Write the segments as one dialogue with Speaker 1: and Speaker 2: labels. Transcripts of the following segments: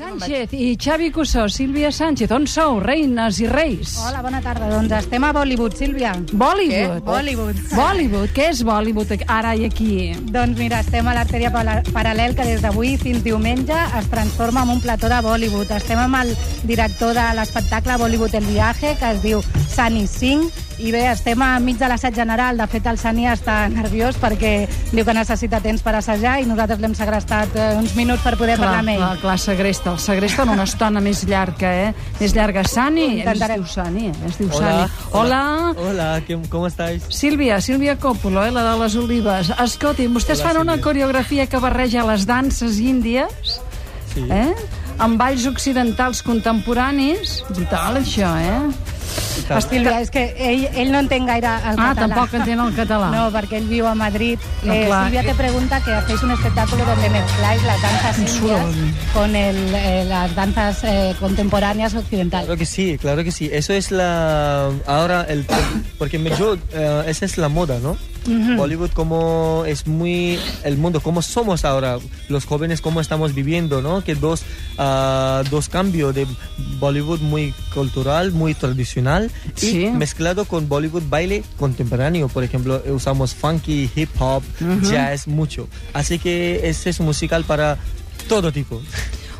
Speaker 1: Sánchez i Xavi Cussó, Sílvia Sánchez, on sou, reines i reis?
Speaker 2: Hola, bona tarda. Doncs estem a Bollywood, Sílvia.
Speaker 1: Bollywood.
Speaker 2: Què? Bollywood.
Speaker 1: Bollywood. Què és Bollywood ac- ara i aquí?
Speaker 2: Doncs mira, estem a l'artèria pala- paral·lel que des d'avui fins diumenge es transforma en un plató de Bollywood. Estem amb el director de l'espectacle Bollywood El Viaje, que es diu Sani Singh, i bé, estem a mig de l'assaig general. De fet, el Sani està nerviós perquè diu que necessita temps per assajar i nosaltres l'hem segrestat eh, uns minuts per poder parlar amb ell.
Speaker 1: clar, clar, segresta. El segresta en una estona més llarga, eh? Més llarga. Sani, es
Speaker 2: Intentarem.
Speaker 1: diu Sani, eh? es diu
Speaker 3: Hola.
Speaker 1: Sani. Hola.
Speaker 3: Hola, ¿qué- ¿cómo estáis?
Speaker 1: Sílvia, Sílvia Coppola, eh, la de les olives. Escolti, vostès
Speaker 3: Hola,
Speaker 1: fan una
Speaker 3: Sílvia.
Speaker 1: coreografia que barreja les danses índies
Speaker 3: Sí.
Speaker 1: eh? amb balls occidentals contemporanis. Vital, això, eh?
Speaker 3: ¿Qué tal?
Speaker 2: Sílvia, és que ell, ell no entén gaire el
Speaker 1: Ah,
Speaker 2: català.
Speaker 1: tampoc entén el català.
Speaker 2: No, perquè ell viu a Madrid.
Speaker 1: No,
Speaker 2: eh,
Speaker 1: clar.
Speaker 2: Sílvia te pregunta que hacéis un espectáculo donde mezcláis las danzas indias
Speaker 1: soroll.
Speaker 2: con el, eh, las danzas eh, contemporáneas occidentales.
Speaker 3: Claro que sí, claro que sí. Eso es la... Ahora el... Porque me- yo... eh, esa es la moda, ¿no? Bollywood como es muy... El mundo, como somos ahora, los jóvenes, cómo estamos viviendo, ¿no? Que dos, ah, dos cambios de Bollywood muy cultural, muy tradicional y
Speaker 1: Sí.
Speaker 3: mezclado con Bollywood baile contemporáneo. Por ejemplo, eh, usamos funky, hip hop, jazz, mucho. Así que ese es un musical para todo tipo.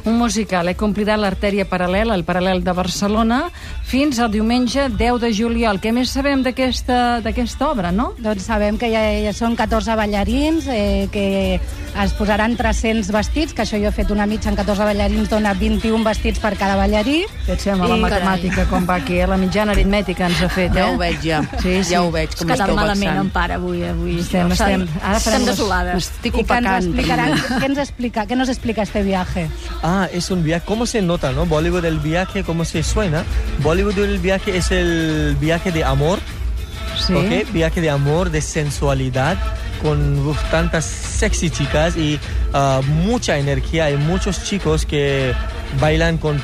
Speaker 1: Un musical, eh? Complirà l'artèria paral·lela, el paral·lel de Barcelona, fins al diumenge 10 de juliol. Què més sabem d'aquesta d'aquesta obra, no?
Speaker 2: Doncs sabem que ja, ja són 14 ballarins, eh, que es posaran 300 vestits, que això jo he fet una mitja en 14 ballarins, dona 21 vestits per cada ballarí.
Speaker 1: Què et sembla, la
Speaker 2: I-
Speaker 1: matemàtica, com va aquí, eh? La mitjana aritmètica ens ha fet, eh?
Speaker 4: Ja ho veig, ja.
Speaker 1: Sí, sí.
Speaker 4: Ja ho veig, com
Speaker 5: que
Speaker 4: esteu
Speaker 5: tan malament
Speaker 4: vexant.
Speaker 5: em para avui, avui.
Speaker 1: Estem, estem, ara farem
Speaker 5: estem
Speaker 1: les-
Speaker 5: desolades.
Speaker 2: I
Speaker 4: Estic
Speaker 2: que ens
Speaker 4: opacant.
Speaker 2: explicaran, què ens explica, què nos explica este viaje?
Speaker 3: Ah, es un viaje. ¿Cómo se nota, no? Bollywood el viaje, ¿cómo se suena? Bollywood el viaje es el viaje de amor,
Speaker 1: Sí.
Speaker 3: ¿ok? Viaje de amor, de sensualidad, con uf, tantas sexy chicas y ah, mucha energía. Hay muchos chicos que bailan con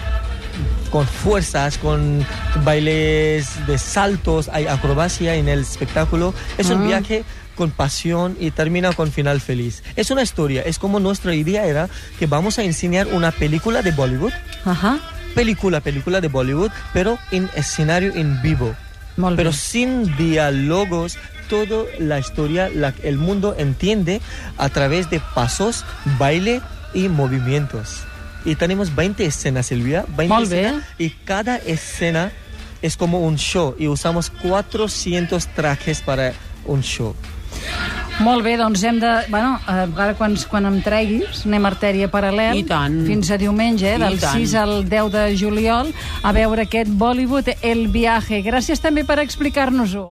Speaker 3: con fuerzas, con bailes de saltos, hay acrobacia en el espectáculo. Es un viaje con pasión y termina con final feliz. Es una historia, es como nuestra idea era que vamos a enseñar una película de Bollywood,
Speaker 1: Ahà.
Speaker 3: película, película de Bollywood, pero en escenario en vivo.
Speaker 1: Molt
Speaker 3: Pero
Speaker 1: bé.
Speaker 3: sin diálogos, toda la historia, la- el mundo entiende a través de pasos, baile y movimientos. Y tenemos 20 escenas, Silvia. 20
Speaker 1: Molt bé.
Speaker 3: escenas, y cada escena es como un show. Y usamos 400 trajes para un show.
Speaker 1: Molt bé, doncs hem de... Bueno, eh, ara quan, quan em treguis, anem a artèria paral·lel.
Speaker 4: I tant.
Speaker 1: Fins a diumenge, eh,
Speaker 4: I
Speaker 1: del
Speaker 4: tant.
Speaker 1: 6 al 10 de juliol, a veure aquest Bollywood, El Viaje. Gràcies també per explicar-nos-ho.